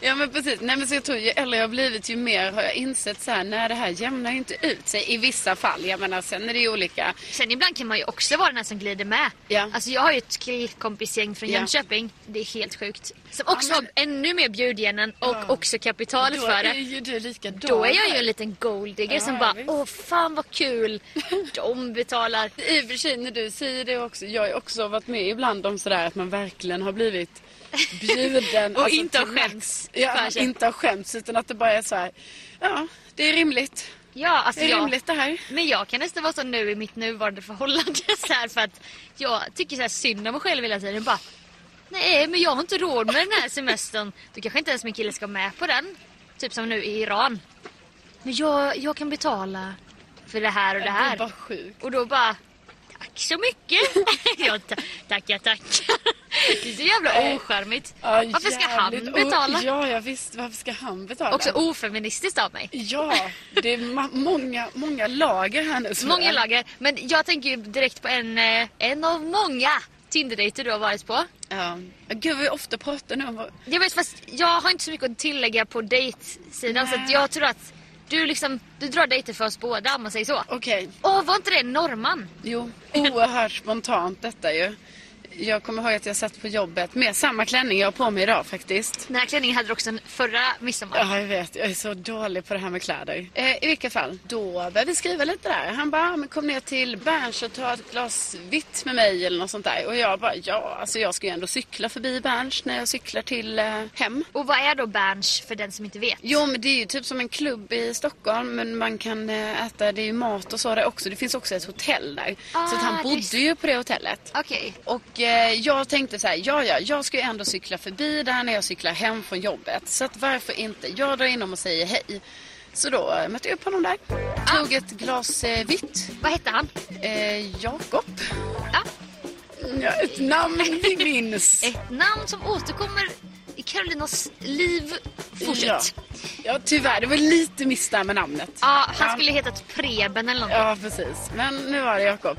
Speaker 4: ja men precis. Nej men så jag tror ju äldre jag har blivit ju mer har jag insett så här, nej det här jämnar ju inte ut sig i vissa fall. Jag menar sen är det ju olika.
Speaker 3: Sen ibland kan man ju också vara den här som glider med.
Speaker 4: Ja.
Speaker 3: Alltså jag har ju ett killkompisgäng från
Speaker 4: Ja.
Speaker 3: Jönköping. Det är helt sjukt. Som också
Speaker 4: Ja, men-
Speaker 3: har ännu mer bjudgenen och också kapitalet
Speaker 4: Då
Speaker 3: för
Speaker 4: är
Speaker 3: det.
Speaker 4: ju du likadan.
Speaker 3: Då är jag ju en liten golddigger
Speaker 4: Ja,
Speaker 3: som bara
Speaker 4: visst.
Speaker 3: åh fan vad kul. De betalar.
Speaker 4: I och för sig när du säger det också, jag har ju också varit med ibland om sådär att man verkligen har blivit bjuden. alltså
Speaker 3: Och inte har
Speaker 4: till max.
Speaker 3: skämts
Speaker 4: Ja,
Speaker 3: för sig.
Speaker 4: inte har skämts utan att det bara är så här, ja det är rimligt.
Speaker 3: Ja, alltså
Speaker 4: Det är
Speaker 3: jag,
Speaker 4: rimligt det här.
Speaker 3: Men jag kan nästan vara så nu i mitt nuvarande förhållande så här, för att jag tycker så här synd om mig själv hela tiden. Bara, Nej men jag har inte råd med den här semestern. Du kanske inte ens min kille ska med på den. Typ som nu i Iran. Men jag, jag kan betala för det här och det
Speaker 4: Det är bara
Speaker 3: här.
Speaker 4: sjukt.
Speaker 3: Och då bara Tack så mycket! jag ta- tackar, tackar. Det är så jävla ocharmigt.
Speaker 4: Ja,
Speaker 3: Varför ska han
Speaker 4: jävligt.
Speaker 3: betala?
Speaker 4: Och, ja, ja visst, varför ska han betala?
Speaker 3: Också ofeministiskt av mig.
Speaker 4: Ja, det är ma- många, många lager här nu. tror
Speaker 3: Många
Speaker 4: jag.
Speaker 3: lager. Men jag tänker ju direkt på en, eh, en av många Tinderdejter du har varit på.
Speaker 4: Ja. Gud vad vi ofta pratar nu om vad-
Speaker 3: Jag vet fast jag har inte så mycket att tillägga på dejtsidan så att jag tror att du liksom, du drar dejter för oss båda om man säger så.
Speaker 4: Okej.
Speaker 3: Åh, var inte det norrman?
Speaker 4: Jo, oerhört spontant detta ju. Jag kommer ihåg att jag satt på jobbet med samma klänning jag har på mig idag faktiskt.
Speaker 3: Den här klänningen hade du också en förra midsommar.
Speaker 4: Ja, jag vet. Jag är så dålig på det här med kläder. Eh, I vilka fall, då började vi skriva lite där. Han bara, "Ah, men kom ner till Berns och ta ett glas vitt med mig eller något sånt där. Och jag bara, ja, alltså jag ska ju ändå cykla förbi Berns när jag cyklar till eh, hem.
Speaker 3: Och vad är då Berns för den som inte vet?
Speaker 4: Jo, men det är ju typ som en klubb i Stockholm, men man kan eh, äta, det är ju mat och så där också. Det finns också ett hotell där. så att
Speaker 3: Ah,
Speaker 4: han bodde
Speaker 3: just-
Speaker 4: ju på det hotellet.
Speaker 3: Okej.
Speaker 4: Och eh, jag tänkte så här, ja ja, jag ska ju ändå cykla förbi där när jag cyklar hem från jobbet. Så att varför inte? Jag drar inom och säger hej. Så då eh, mötte jag upp honom där.
Speaker 3: Ah.
Speaker 4: Tog ett glas eh, vitt.
Speaker 3: Vad hette han?
Speaker 4: Eh, Jakob.
Speaker 3: Ja. Mm.
Speaker 4: Ja, ett namn vi minns.
Speaker 3: Ett namn som återkommer i Karolinas liv.
Speaker 4: ja.
Speaker 3: Fortsätt. Ja,
Speaker 4: ja, tyvärr. Det var lite miss där med namnet.
Speaker 3: han skulle hetat Preben eller något.
Speaker 4: Ja, precis. Men nu var det Jakob.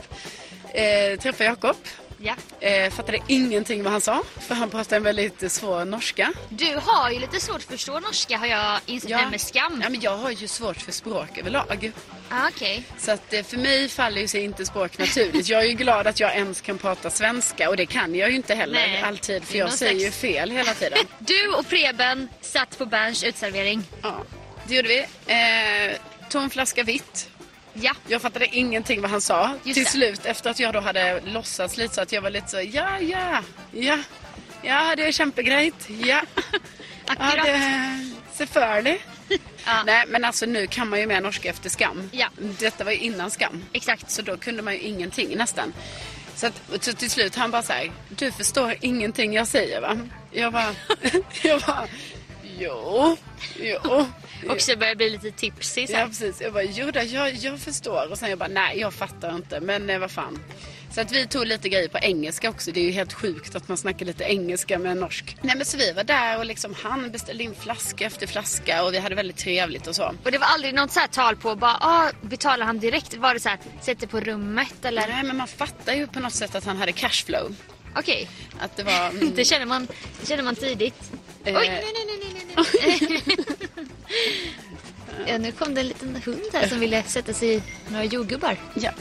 Speaker 4: Eh, träffade Jakob.
Speaker 3: Ja.
Speaker 4: Eh, fattade ingenting vad han sa. För han pratade en väldigt svår norska.
Speaker 3: Du har ju lite svårt att förstå norska har jag insett ja. med skam.
Speaker 4: Ja, men jag har ju svårt för språk överlag.
Speaker 3: Ah, Okej.
Speaker 4: Så att eh, för mig faller ju sig inte språk naturligt. Jag är ju glad att jag ens kan prata svenska och det kan jag ju inte heller
Speaker 3: Nej,
Speaker 4: alltid för
Speaker 3: det är
Speaker 4: jag
Speaker 3: någon
Speaker 4: säger ju
Speaker 3: slags-
Speaker 4: fel hela tiden.
Speaker 3: Du och Preben satt på Berns utservering.
Speaker 4: ja, det gjorde vi. Eh, tog en flaska vitt.
Speaker 3: Ja.
Speaker 4: Jag fattade ingenting vad han sa.
Speaker 3: Just
Speaker 4: Till
Speaker 3: det.
Speaker 4: slut efter att jag då hade låtsats lite så att jag var lite så ja, ja, ja. Ja, det är kämpegrejt. Ja. Ja,
Speaker 3: Akkurat.
Speaker 4: det... Selvfølgelig.
Speaker 3: Ja.
Speaker 4: Nej, men alltså nu kan man ju med norska efter skam.
Speaker 3: Ja.
Speaker 4: Detta var ju innan skam.
Speaker 3: Exakt.
Speaker 4: Så då kunde man ju ingenting nästan. Så, att, så till slut han bara så här, du förstår ingenting jag säger va? Jag bara, jag bara, jo, jo.
Speaker 3: Och så börjar jag bli lite tipsig
Speaker 4: Ja
Speaker 3: sen.
Speaker 4: precis, jag bara, jo då, jag, jag förstår. Och sen jag bara, nej jag fattar inte, men eh, vad fan. Så att vi tog lite grejer på engelska också. Det är ju helt sjukt att man snackar lite engelska med en norsk. Nej men så vi var där och liksom han beställde in flaska efter flaska och vi hade väldigt trevligt och så.
Speaker 3: Och det var aldrig något så här tal på bara, ah, betalar han direkt? Var det så här, sätter på rummet eller?
Speaker 4: Nej men man fattar ju på något sätt att han hade cashflow.
Speaker 3: Okej.
Speaker 4: Att det var... mm,
Speaker 3: Det känner man, det känner man tidigt.
Speaker 4: Eh.
Speaker 3: Oj, nej, nej, nej, nej, nej, nej. ja, nu kom det en liten hund här som ville sätta sig i några jordgubbar.
Speaker 4: ja.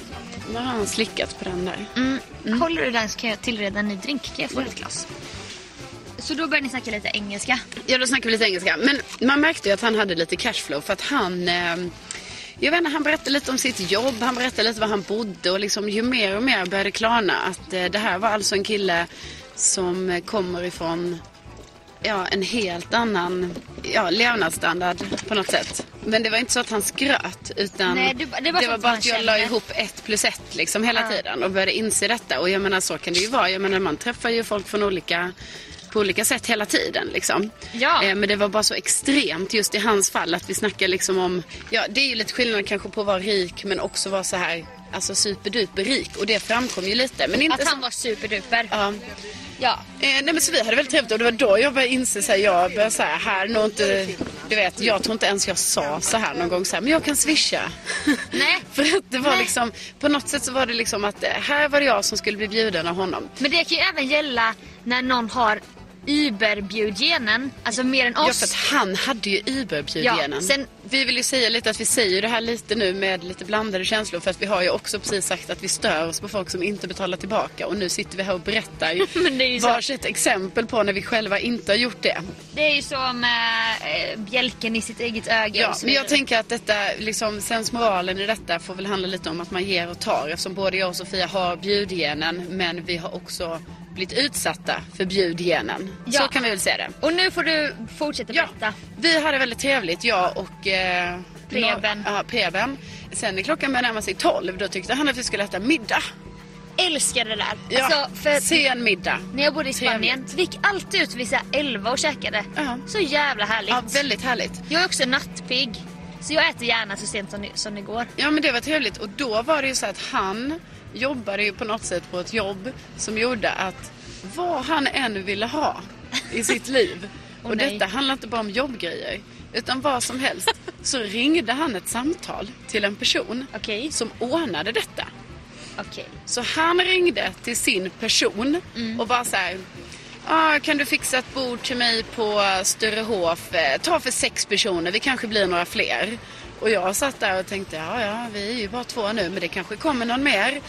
Speaker 4: Nu har han slickat på den där.
Speaker 3: Mm. Håller du den så kan jag tillreda en ny drink. Kan jag få
Speaker 4: Mm.
Speaker 3: ett glas? Så då börjar ni snacka lite engelska.
Speaker 4: Ja, då snackar vi lite engelska. Men man märkte ju att han hade lite cashflow för att han... Eh, jag vet inte, han berättade lite om sitt jobb, han berättade lite var han bodde och liksom ju mer och mer började klarna att eh, det här var alltså en kille som eh, kommer ifrån ja, en helt annan ja, levnadsstandard på något sätt. Men det var inte så att han skröt utan
Speaker 3: Nej, det- det var sånt
Speaker 4: var
Speaker 3: som
Speaker 4: bara
Speaker 3: man
Speaker 4: att jag la
Speaker 3: känner.
Speaker 4: ihop ett plus ett liksom hela tiden och började inse detta. Och jag menar så kan det ju vara. Jag menar man träffar ju folk från olika på olika sätt hela tiden. Liksom.
Speaker 3: Ja.
Speaker 4: Eh, men det var bara så extremt just i hans fall att vi snackar liksom om, ja det är ju lite skillnad kanske på att vara rik men också vara så här, alltså superduper rik och det framkom ju lite. Men inte
Speaker 3: Att
Speaker 4: så-
Speaker 3: han var superduper.
Speaker 4: Ja.
Speaker 3: Ja.
Speaker 4: Eh, nej men så vi hade väldigt trevligt och det var då jag började inse så här, jag började så här, här nog inte, du vet, jag tror inte ens jag sa så här någon gång så här, men jag kan swisha.
Speaker 3: Nej.
Speaker 4: För att det var
Speaker 3: Nej.
Speaker 4: liksom, på något sätt så var det liksom att eh, här var det jag som skulle bli bjuden av honom.
Speaker 3: Men det kan ju även gälla när någon har überbjudgenen. Alltså mer än
Speaker 4: Ja, för att
Speaker 3: oss.
Speaker 4: han hade ju Uber-bjudgenen.
Speaker 3: Ja, sen-
Speaker 4: Vi vill ju säga lite att vi säger det här lite nu med lite blandade känslor för att vi har ju också precis sagt att vi stör oss på folk som inte betalar tillbaka och nu sitter vi här och berättar ju
Speaker 3: Men det är ju så.
Speaker 4: varsitt exempel på när vi själva inte har gjort det.
Speaker 3: Det är ju som eh, eh, bjälken i sitt eget öga.
Speaker 4: Ja,
Speaker 3: och så
Speaker 4: men jag
Speaker 3: vidare.
Speaker 4: tänker att detta, liksom, sensmoralen i detta får väl handla lite om att man ger och tar eftersom både jag och Sofia har bjudgenen men vi har också blivit utsatta för bjudgenen.
Speaker 3: Ja.
Speaker 4: Så kan vi väl säga det.
Speaker 3: Och nu får du fortsätta
Speaker 4: Ja,
Speaker 3: berätta.
Speaker 4: vi hade väldigt trevligt, jag och... Eh,
Speaker 3: Preben.
Speaker 4: no- Ja, Preben. Sen när klockan började närma sig tolv, då tyckte han att vi skulle äta middag.
Speaker 3: Älskar det där.
Speaker 4: Ja,
Speaker 3: Alltså, för
Speaker 4: sen middag.
Speaker 3: när jag bodde i Spanien,
Speaker 4: Trevligt.
Speaker 3: vi gick alltid ut vid så här 11 och käkade.
Speaker 4: Ja.
Speaker 3: Så jävla härligt.
Speaker 4: Ja, väldigt härligt.
Speaker 3: Jag är också nattpigg. Så jag äter gärna så sent som, som det går.
Speaker 4: Ja, men det var trevligt. Och då var det ju så att han jobbade ju på något sätt på ett jobb som gjorde att vad han än ville ha i sitt liv.
Speaker 3: Åh,
Speaker 4: och
Speaker 3: nej.
Speaker 4: detta handlar inte bara om jobbgrejer, utan vad som helst. Så ringde han ett samtal till en person
Speaker 3: Okej.
Speaker 4: som ordnade detta.
Speaker 3: Okej.
Speaker 4: Så han ringde till sin person och bara så här. Ah, kan du fixa ett bord till mig på Sturehof? Eh, Ta för sex personer, vi kanske blir några fler. Och jag satt där och tänkte, ja ja, vi är ju bara två nu, men det kanske kommer någon mer.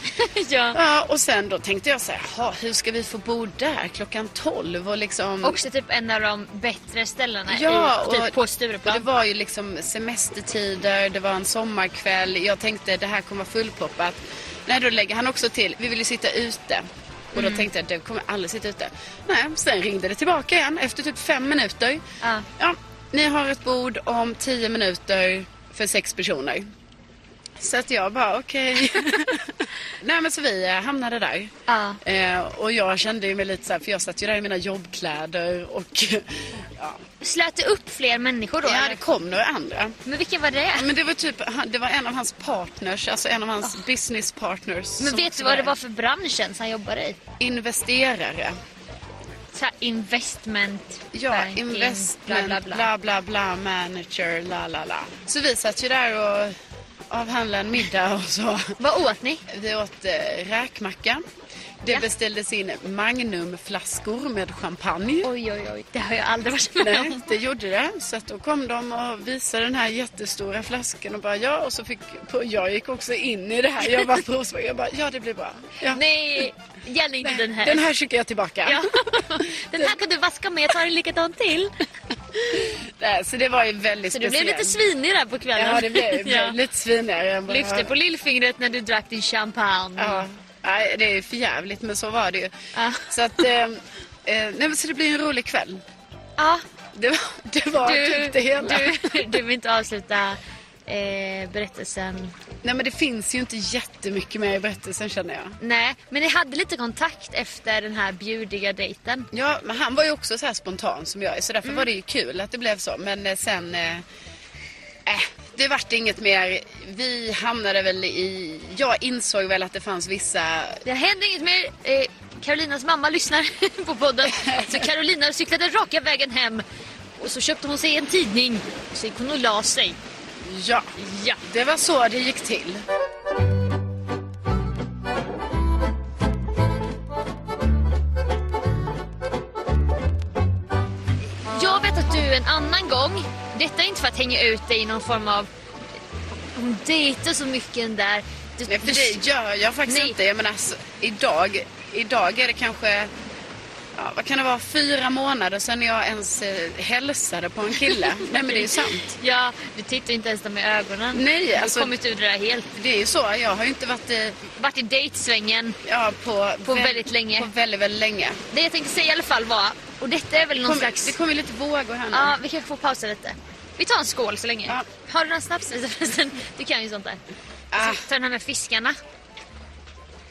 Speaker 3: ja.
Speaker 4: Ja, och sen då tänkte jag så här, "Jaha, hur ska vi få bord där klockan tolv? Och liksom...
Speaker 3: Också typ en av de bättre ställena
Speaker 4: Ja,
Speaker 3: i, typ
Speaker 4: och-
Speaker 3: på
Speaker 4: Och det
Speaker 3: Stureplan.
Speaker 4: var ju liksom semestertider, det var en sommarkväll. Jag tänkte det här kommer vara fullproppat. Nej, då lägger han också till, vi vill ju sitta ute. Och då
Speaker 3: Mm.
Speaker 4: tänkte jag, det kommer aldrig sitta ute. Nej, sen ringde det tillbaka igen efter typ fem minuter.
Speaker 3: Ja.
Speaker 4: Ja, ni har ett bord om tio minuter för sex personer. Så att jag bara, okej. Nej men så vi eh, hamnade där.
Speaker 3: Ja.
Speaker 4: Eh, och jag kände ju mig lite så här, för jag satt ju där i mina jobbkläder och ja,
Speaker 3: Slöt det upp fler människor då?
Speaker 4: ja det
Speaker 3: eller?
Speaker 4: kom några andra.
Speaker 3: Men vilken var det?
Speaker 4: Men det var typ, han- det var en av hans partners, alltså en av hans business partners.
Speaker 3: Ah. Men
Speaker 4: som
Speaker 3: vet
Speaker 4: också
Speaker 3: du vad det var för bransch ens han jobbade i?
Speaker 4: Investerare.
Speaker 3: Så här investment
Speaker 4: Ja,
Speaker 3: banking,
Speaker 4: investment,
Speaker 3: bla bla bla.
Speaker 4: bla bla bla, manager, la la la. Så vi satt ju där och avhandlade en middag och så.
Speaker 3: Vad åt ni?
Speaker 4: Vi åt eh, räkmacka. Det
Speaker 3: Ja.
Speaker 4: beställdes in magnumflaskor med champagne.
Speaker 3: Oj, oj, oj. Det har jag aldrig varit med
Speaker 4: Nej,
Speaker 3: om.
Speaker 4: det gjorde det. Så att då kom de och visade den här jättestora flaskan och bara ja. Och så fick, jag gick också in i det här. Jag bara provsmakade. Jag bara ja det blir bra. Ja.
Speaker 3: Nej, gärna inte den här.
Speaker 4: Den här skickar jag tillbaka.
Speaker 3: Ja. Den här kan du vaska med, jag tar en likadan till.
Speaker 4: Nej, Så det var ju väldigt
Speaker 3: Så du blev
Speaker 4: speciellt.
Speaker 3: lite svinig där på kvällen.
Speaker 4: Ja, det blev, det blev
Speaker 3: Ja.
Speaker 4: lite svinigare. än vad jag-
Speaker 3: Lyfte på lillfingret när du drack din champagne.
Speaker 4: Ja. Nej, det är för jävligt men så var det ju.
Speaker 3: Ja.
Speaker 4: Så att, eh, eh, nej, men så det blir en rolig kväll.
Speaker 3: Ja,
Speaker 4: Det var, det var typ det hela.
Speaker 3: Du, du vill inte avsluta eh, berättelsen.
Speaker 4: Nej men det finns ju inte jättemycket mer i berättelsen känner jag.
Speaker 3: Nej, men ni hade lite kontakt efter den här bjudiga dejten.
Speaker 4: Ja, men han var ju också så här spontan som jag är så därför
Speaker 3: Mm.
Speaker 4: var det ju kul att det blev så. Men eh, sen... Eh, eh, det vart inget mer. Vi hamnade väl i... Jag insåg väl att det fanns vissa...
Speaker 3: Det händer inget mer. Eh, Carolinas mamma lyssnar på podden. Så Carolina cyklade raka vägen hem. Och så köpte hon sig en tidning. Så gick hon och la sig.
Speaker 4: Ja,
Speaker 3: Ja.
Speaker 4: det var så det gick till.
Speaker 3: Jag vet att du en annan gång, detta är inte för att hänga ut dig i någon form av... Hon dejtar så mycket den där. Du,
Speaker 4: Nej, för
Speaker 3: du-
Speaker 4: det gör jag faktiskt
Speaker 3: Nej.
Speaker 4: inte. Jag menar, alltså, idag, idag är det kanske... Ja, vad kan det vara? Fyra månader sedan jag ens eh, hälsade på en kille. Nej, men det är ju sant.
Speaker 3: Ja, du tittar inte ens dem i ögonen.
Speaker 4: Nej,
Speaker 3: du har
Speaker 4: alltså-
Speaker 3: kommit ur det där helt.
Speaker 4: Det är ju så. Jag har ju inte varit eh, i...
Speaker 3: Vart i dejtsvängen.
Speaker 4: Ja, på,
Speaker 3: På
Speaker 4: väl-
Speaker 3: väldigt länge.
Speaker 4: På väldigt, väldigt länge.
Speaker 3: Det jag tänkte säga i alla fall var, och detta är väl någon
Speaker 4: Kom,
Speaker 3: slags...
Speaker 4: det kommer lite vågor här nu.
Speaker 3: Ja, vi kanske får pausa lite. Vi tar en skål så länge.
Speaker 4: Ja.
Speaker 3: Har du någon snaps lite förresten? Du kan ju sånt där.
Speaker 4: Ah.
Speaker 3: Jag ska ta den här med fiskarna.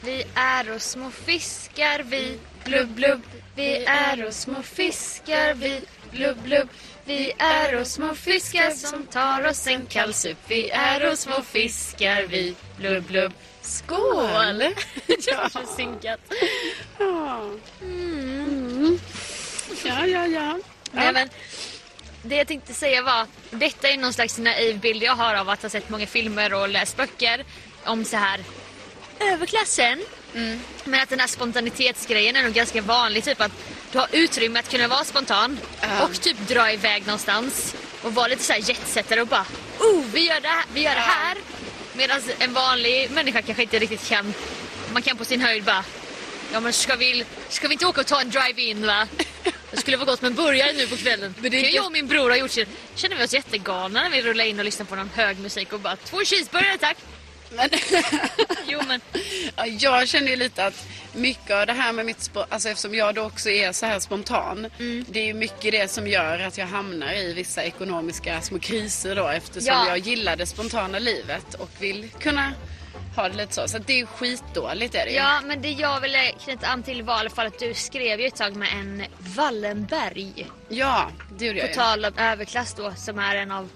Speaker 3: Vi är och små fiskar vi, blubb blubb. Mm. Vi är och små fiskar vi, blubb blubb. Vi är och små fiskar som tar oss en kall sup. Vi är och små fiskar vi, blubb blubb. Skål!
Speaker 4: Ja.
Speaker 3: Så Synkat.
Speaker 4: Ja, ja, ja.
Speaker 3: Nej, men, det jag tänkte säga var, detta är någon slags naiv bild jag har av att ha sett många filmer och läst böcker om så här överklassen. Men att den här spontanitetsgrejen är nog ganska vanlig, typ att du har utrymme att kunna vara spontan
Speaker 4: Ehm.
Speaker 3: och typ dra iväg någonstans och vara lite så här jetsättare och bara oh, vi gör det här, vi gör det
Speaker 4: Ehm.
Speaker 3: här. Medan en vanlig människa kanske inte riktigt kan, man kan på sin höjd bara Ja men ska vi, ska vi inte åka och ta en drive-in va? Det skulle vara gott med en burgare nu på kvällen.
Speaker 4: Men
Speaker 3: Men
Speaker 4: det
Speaker 3: det
Speaker 4: är
Speaker 3: kan
Speaker 4: inte-
Speaker 3: jag och min bror har gjort så känner vi oss jättegalna när vi rullar in och lyssnar på någon hög musik och bara två cheeseburgare tack.
Speaker 4: Men,
Speaker 3: Jo men
Speaker 4: ja, jag känner ju lite att mycket av det här med mitt språk, alltså eftersom jag då också är så här spontan.
Speaker 3: Mm.
Speaker 4: Det är ju mycket det som gör att jag hamnar i vissa ekonomiska små kriser då eftersom
Speaker 3: Ja.
Speaker 4: jag gillar det spontana livet och vill kunna ha det lite så. Så att det är ju skitdåligt är det ju.
Speaker 3: ja men det jag ville knyta an till var i alla fall att du skrev ju ett tag med en Wallenberg.
Speaker 4: ja, det gjorde
Speaker 3: På
Speaker 4: jag ju.
Speaker 3: tal om överklass då som är en av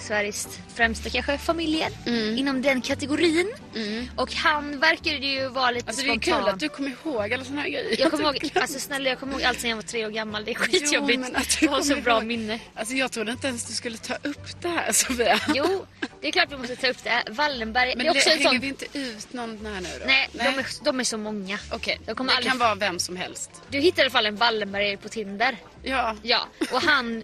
Speaker 3: Sveriges främsta kanske familjer
Speaker 4: Mm.
Speaker 3: inom den kategorin. Och han verkade ju vara lite
Speaker 4: Alltså det är
Speaker 3: spontan.
Speaker 4: kul att du kommer ihåg alla såna här grejer.
Speaker 3: Jag kommer ihåg, alltså snälla jag kommer ihåg allt sen jag var tre år gammal. Det är skitjobbigt.
Speaker 4: men att du
Speaker 3: jag har så
Speaker 4: kommer
Speaker 3: bra
Speaker 4: ihåg.
Speaker 3: minne.
Speaker 4: Alltså jag trodde inte ens du skulle ta upp det här Sofia.
Speaker 3: Jo, Det är klart vi måste ta upp det. Wallenberg.
Speaker 4: Men
Speaker 3: det är också
Speaker 4: det,
Speaker 3: en
Speaker 4: hänger
Speaker 3: sån...
Speaker 4: vi inte ut någon här nu då?
Speaker 3: Nej, De, är, de är så många.
Speaker 4: Okej,
Speaker 3: De
Speaker 4: det
Speaker 3: kommer aldrig-
Speaker 4: kan vara vem som helst.
Speaker 3: Du hittade i alla fall en Wallenberg på Tinder.
Speaker 4: Ja.
Speaker 3: Ja, och han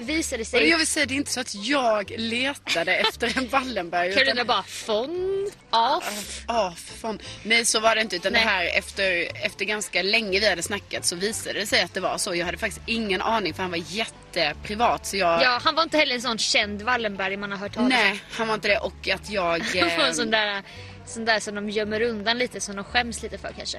Speaker 3: visade
Speaker 4: Och
Speaker 3: sig...
Speaker 4: jag vill säga, det är inte så att jag letade efter en Wallenberg. utan-
Speaker 3: Carolina bara von af.
Speaker 4: Ja, för fan. Nej, så var det inte. Utan
Speaker 3: Nej.
Speaker 4: det här efter, efter ganska länge vi hade snackat så visade det sig att det var så. Jag hade faktiskt ingen aning för han var jätteprivat. Så jag...
Speaker 3: Ja, han var inte heller en sån känd Wallenberg man har hört talas om.
Speaker 4: Nej, han var inte det. Och att jag...
Speaker 3: Han var en
Speaker 4: ehm,
Speaker 3: sån där, sån där som de gömmer undan lite, som de skäms lite för kanske.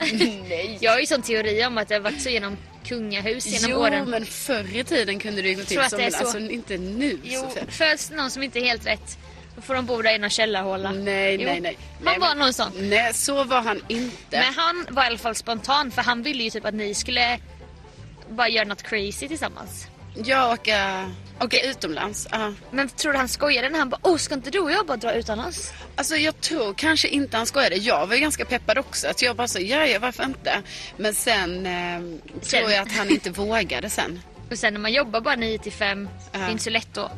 Speaker 3: Nej. Jag har ju sån teori om att det har varit så genom kungahus genom
Speaker 4: ehm, jo,
Speaker 3: åren.
Speaker 4: men förr i tiden kunde det ju gå till
Speaker 3: Tror att
Speaker 4: så.
Speaker 3: det är
Speaker 4: Men
Speaker 3: så.
Speaker 4: alltså inte nu
Speaker 3: Jo,
Speaker 4: Sofia.
Speaker 3: föds någon som inte är helt rätt, då får de bo där i någon källarhåla.
Speaker 4: Nej,
Speaker 3: Jo,
Speaker 4: nej, nej.
Speaker 3: Han
Speaker 4: nej,
Speaker 3: var
Speaker 4: men-
Speaker 3: någon sån.
Speaker 4: Nej, så var han inte.
Speaker 3: Men han var i alla fall spontan för han ville ju typ att ni skulle bara göra något crazy tillsammans.
Speaker 4: Jag åker, åker utomlands. ja.
Speaker 3: Men tror du han skojade när han bara åh ska inte du och jag bara dra utomlands?
Speaker 4: Alltså jag tror kanske inte han skojade. Jag var ju ganska peppad också. Att jag bara så, ja, ja varför inte? Men sen, eh, tror jag att han inte vågade sen.
Speaker 3: Och sen när man jobbar bara 9 till 5, det är
Speaker 4: Ja.
Speaker 3: inte så lätt att,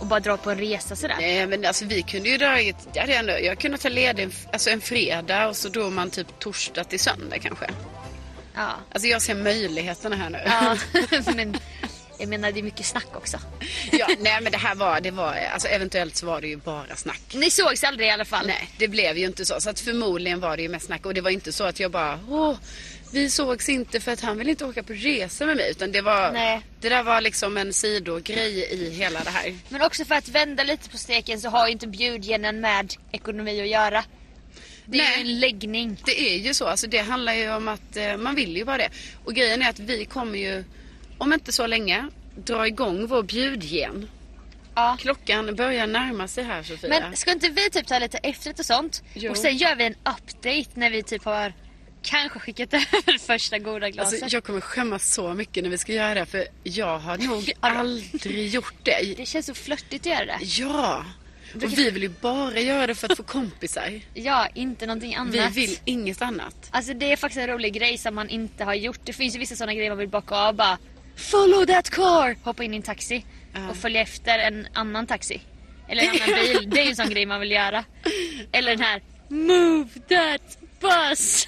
Speaker 3: att bara dra på en resa sådär.
Speaker 4: Nej men alltså vi kunde ju dragit, det hade jag ändå, jag kunde ta ledig alltså, en fredag och så drog man typ torsdag till söndag kanske.
Speaker 3: Ja.
Speaker 4: Alltså jag ser möjligheterna här nu.
Speaker 3: Ja, men jag menar det är mycket snack också.
Speaker 4: ja, nej men det här var, det var, alltså eventuellt så var det ju bara snack.
Speaker 3: Ni sågs aldrig i alla fall.
Speaker 4: Nej, det blev ju inte så. Så att förmodligen var det ju mest snack. Och det var inte så att jag bara, åh, vi sågs inte för att han vill inte åka på resa med mig. Utan det var,
Speaker 3: Nej.
Speaker 4: det där var liksom en sidogrej i hela det här.
Speaker 3: Men också för att vända lite på steken så har ju inte bjudgenen med ekonomi att göra. Det är
Speaker 4: Nej.
Speaker 3: ju en läggning.
Speaker 4: Det är ju så, alltså det handlar ju om att eh, man vill ju bara det. Och grejen är att vi kommer ju, om inte så länge, dra igång vår bjudgen.
Speaker 3: Ja.
Speaker 4: Klockan börjar närma sig här Sofia.
Speaker 3: Men ska inte vi typ ta lite efterrätt och sånt?
Speaker 4: Jo.
Speaker 3: Och sen gör vi en update när vi typ har kanske skickat över första goda glaset.
Speaker 4: Alltså, jag kommer skämmas så mycket när vi ska göra det här, för jag har nog aldrig gjort det.
Speaker 3: Det känns så flörtigt att göra det.
Speaker 4: Ja! Och vi vill ju bara göra det för att få
Speaker 3: Mm.
Speaker 4: kompisar.
Speaker 3: Ja, inte någonting annat.
Speaker 4: Vi vill inget annat.
Speaker 3: Alltså det är faktiskt en rolig grej som man inte har gjort. Det finns ju vissa sådana grejer man vill bocka av bara Follow that car! Hoppa in i en taxi och följa efter en annan taxi. Eller en annan bil. Det är ju en sån grej man vill göra. Eller den här Move that bus!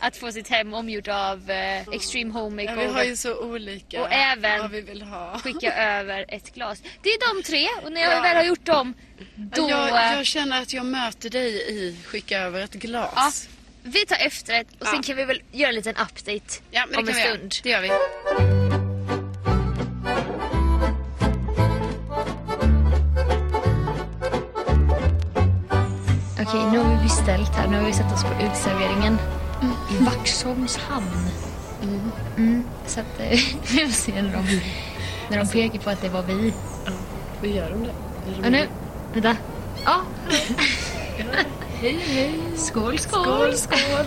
Speaker 3: Att få sitt hem omgjort av eh, Extreme Home
Speaker 4: Ja, vi har
Speaker 3: Makeover.
Speaker 4: ju så olika
Speaker 3: Och även-
Speaker 4: vad vi vill ha.
Speaker 3: Skicka över ett glas. Det är de tre och när jag väl har gjort dem då... eh,
Speaker 4: Jag, jag känner att jag möter dig i skicka över ett
Speaker 3: ja,
Speaker 4: glas.
Speaker 3: vi tar efterrätt och sen
Speaker 4: Ja.
Speaker 3: kan vi väl göra en liten update
Speaker 4: Ja, men
Speaker 3: om
Speaker 4: det
Speaker 3: en
Speaker 4: kan vi göra.
Speaker 3: stund.
Speaker 4: Det gör vi.
Speaker 3: Okej, nu har vi beställt här. Nu har vi satt oss på utserveringen. I Vaxholms hamn. Mm, så att eh, vi får se när de, när de pekar på att det var vi.
Speaker 4: Vad gör de det?
Speaker 3: Och nu, vänta. Ja. hej, hej. Skål, skål. Skål, skål.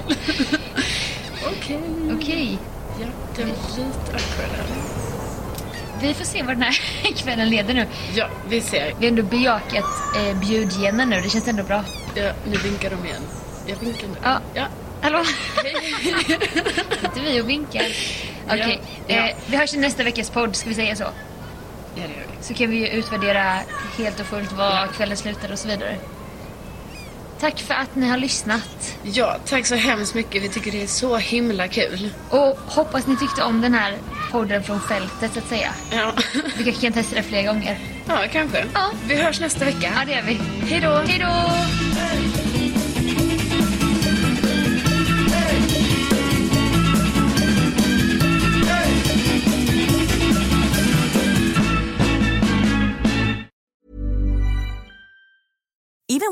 Speaker 4: Okej.
Speaker 3: Okej,
Speaker 4: Ja, det var lite awkward.
Speaker 3: vi får se vad den här kvällen leder nu.
Speaker 4: Ja, vi ser.
Speaker 3: Vi har ändå bejakat eh, bjudgenen nu. Det känns ändå bra.
Speaker 4: Ja, nu vinkar de igen. Jag vinkar nu.
Speaker 3: Ja.
Speaker 4: Ja.
Speaker 3: Hallå? Sitter vi och vinkar? Okej,
Speaker 4: Ja, ja.
Speaker 3: eh, vi hörs i nästa veckas podd. Ska vi säga så?
Speaker 4: Ja, det gör vi.
Speaker 3: Så kan vi ju utvärdera helt och fullt vad kvällen slutade och så vidare. Tack för att ni har lyssnat.
Speaker 4: Ja, tack så hemskt mycket. Vi tycker det är så himla kul.
Speaker 3: Och hoppas ni tyckte om den här podden från fältet så att säga.
Speaker 4: Ja,
Speaker 3: Vi kanske kan testa det fler gånger.
Speaker 4: ja kanske.
Speaker 3: Ja.
Speaker 4: Vi hörs nästa vecka.
Speaker 3: Ja, det gör vi.
Speaker 4: Hej då!
Speaker 3: Hej då!
Speaker 5: Even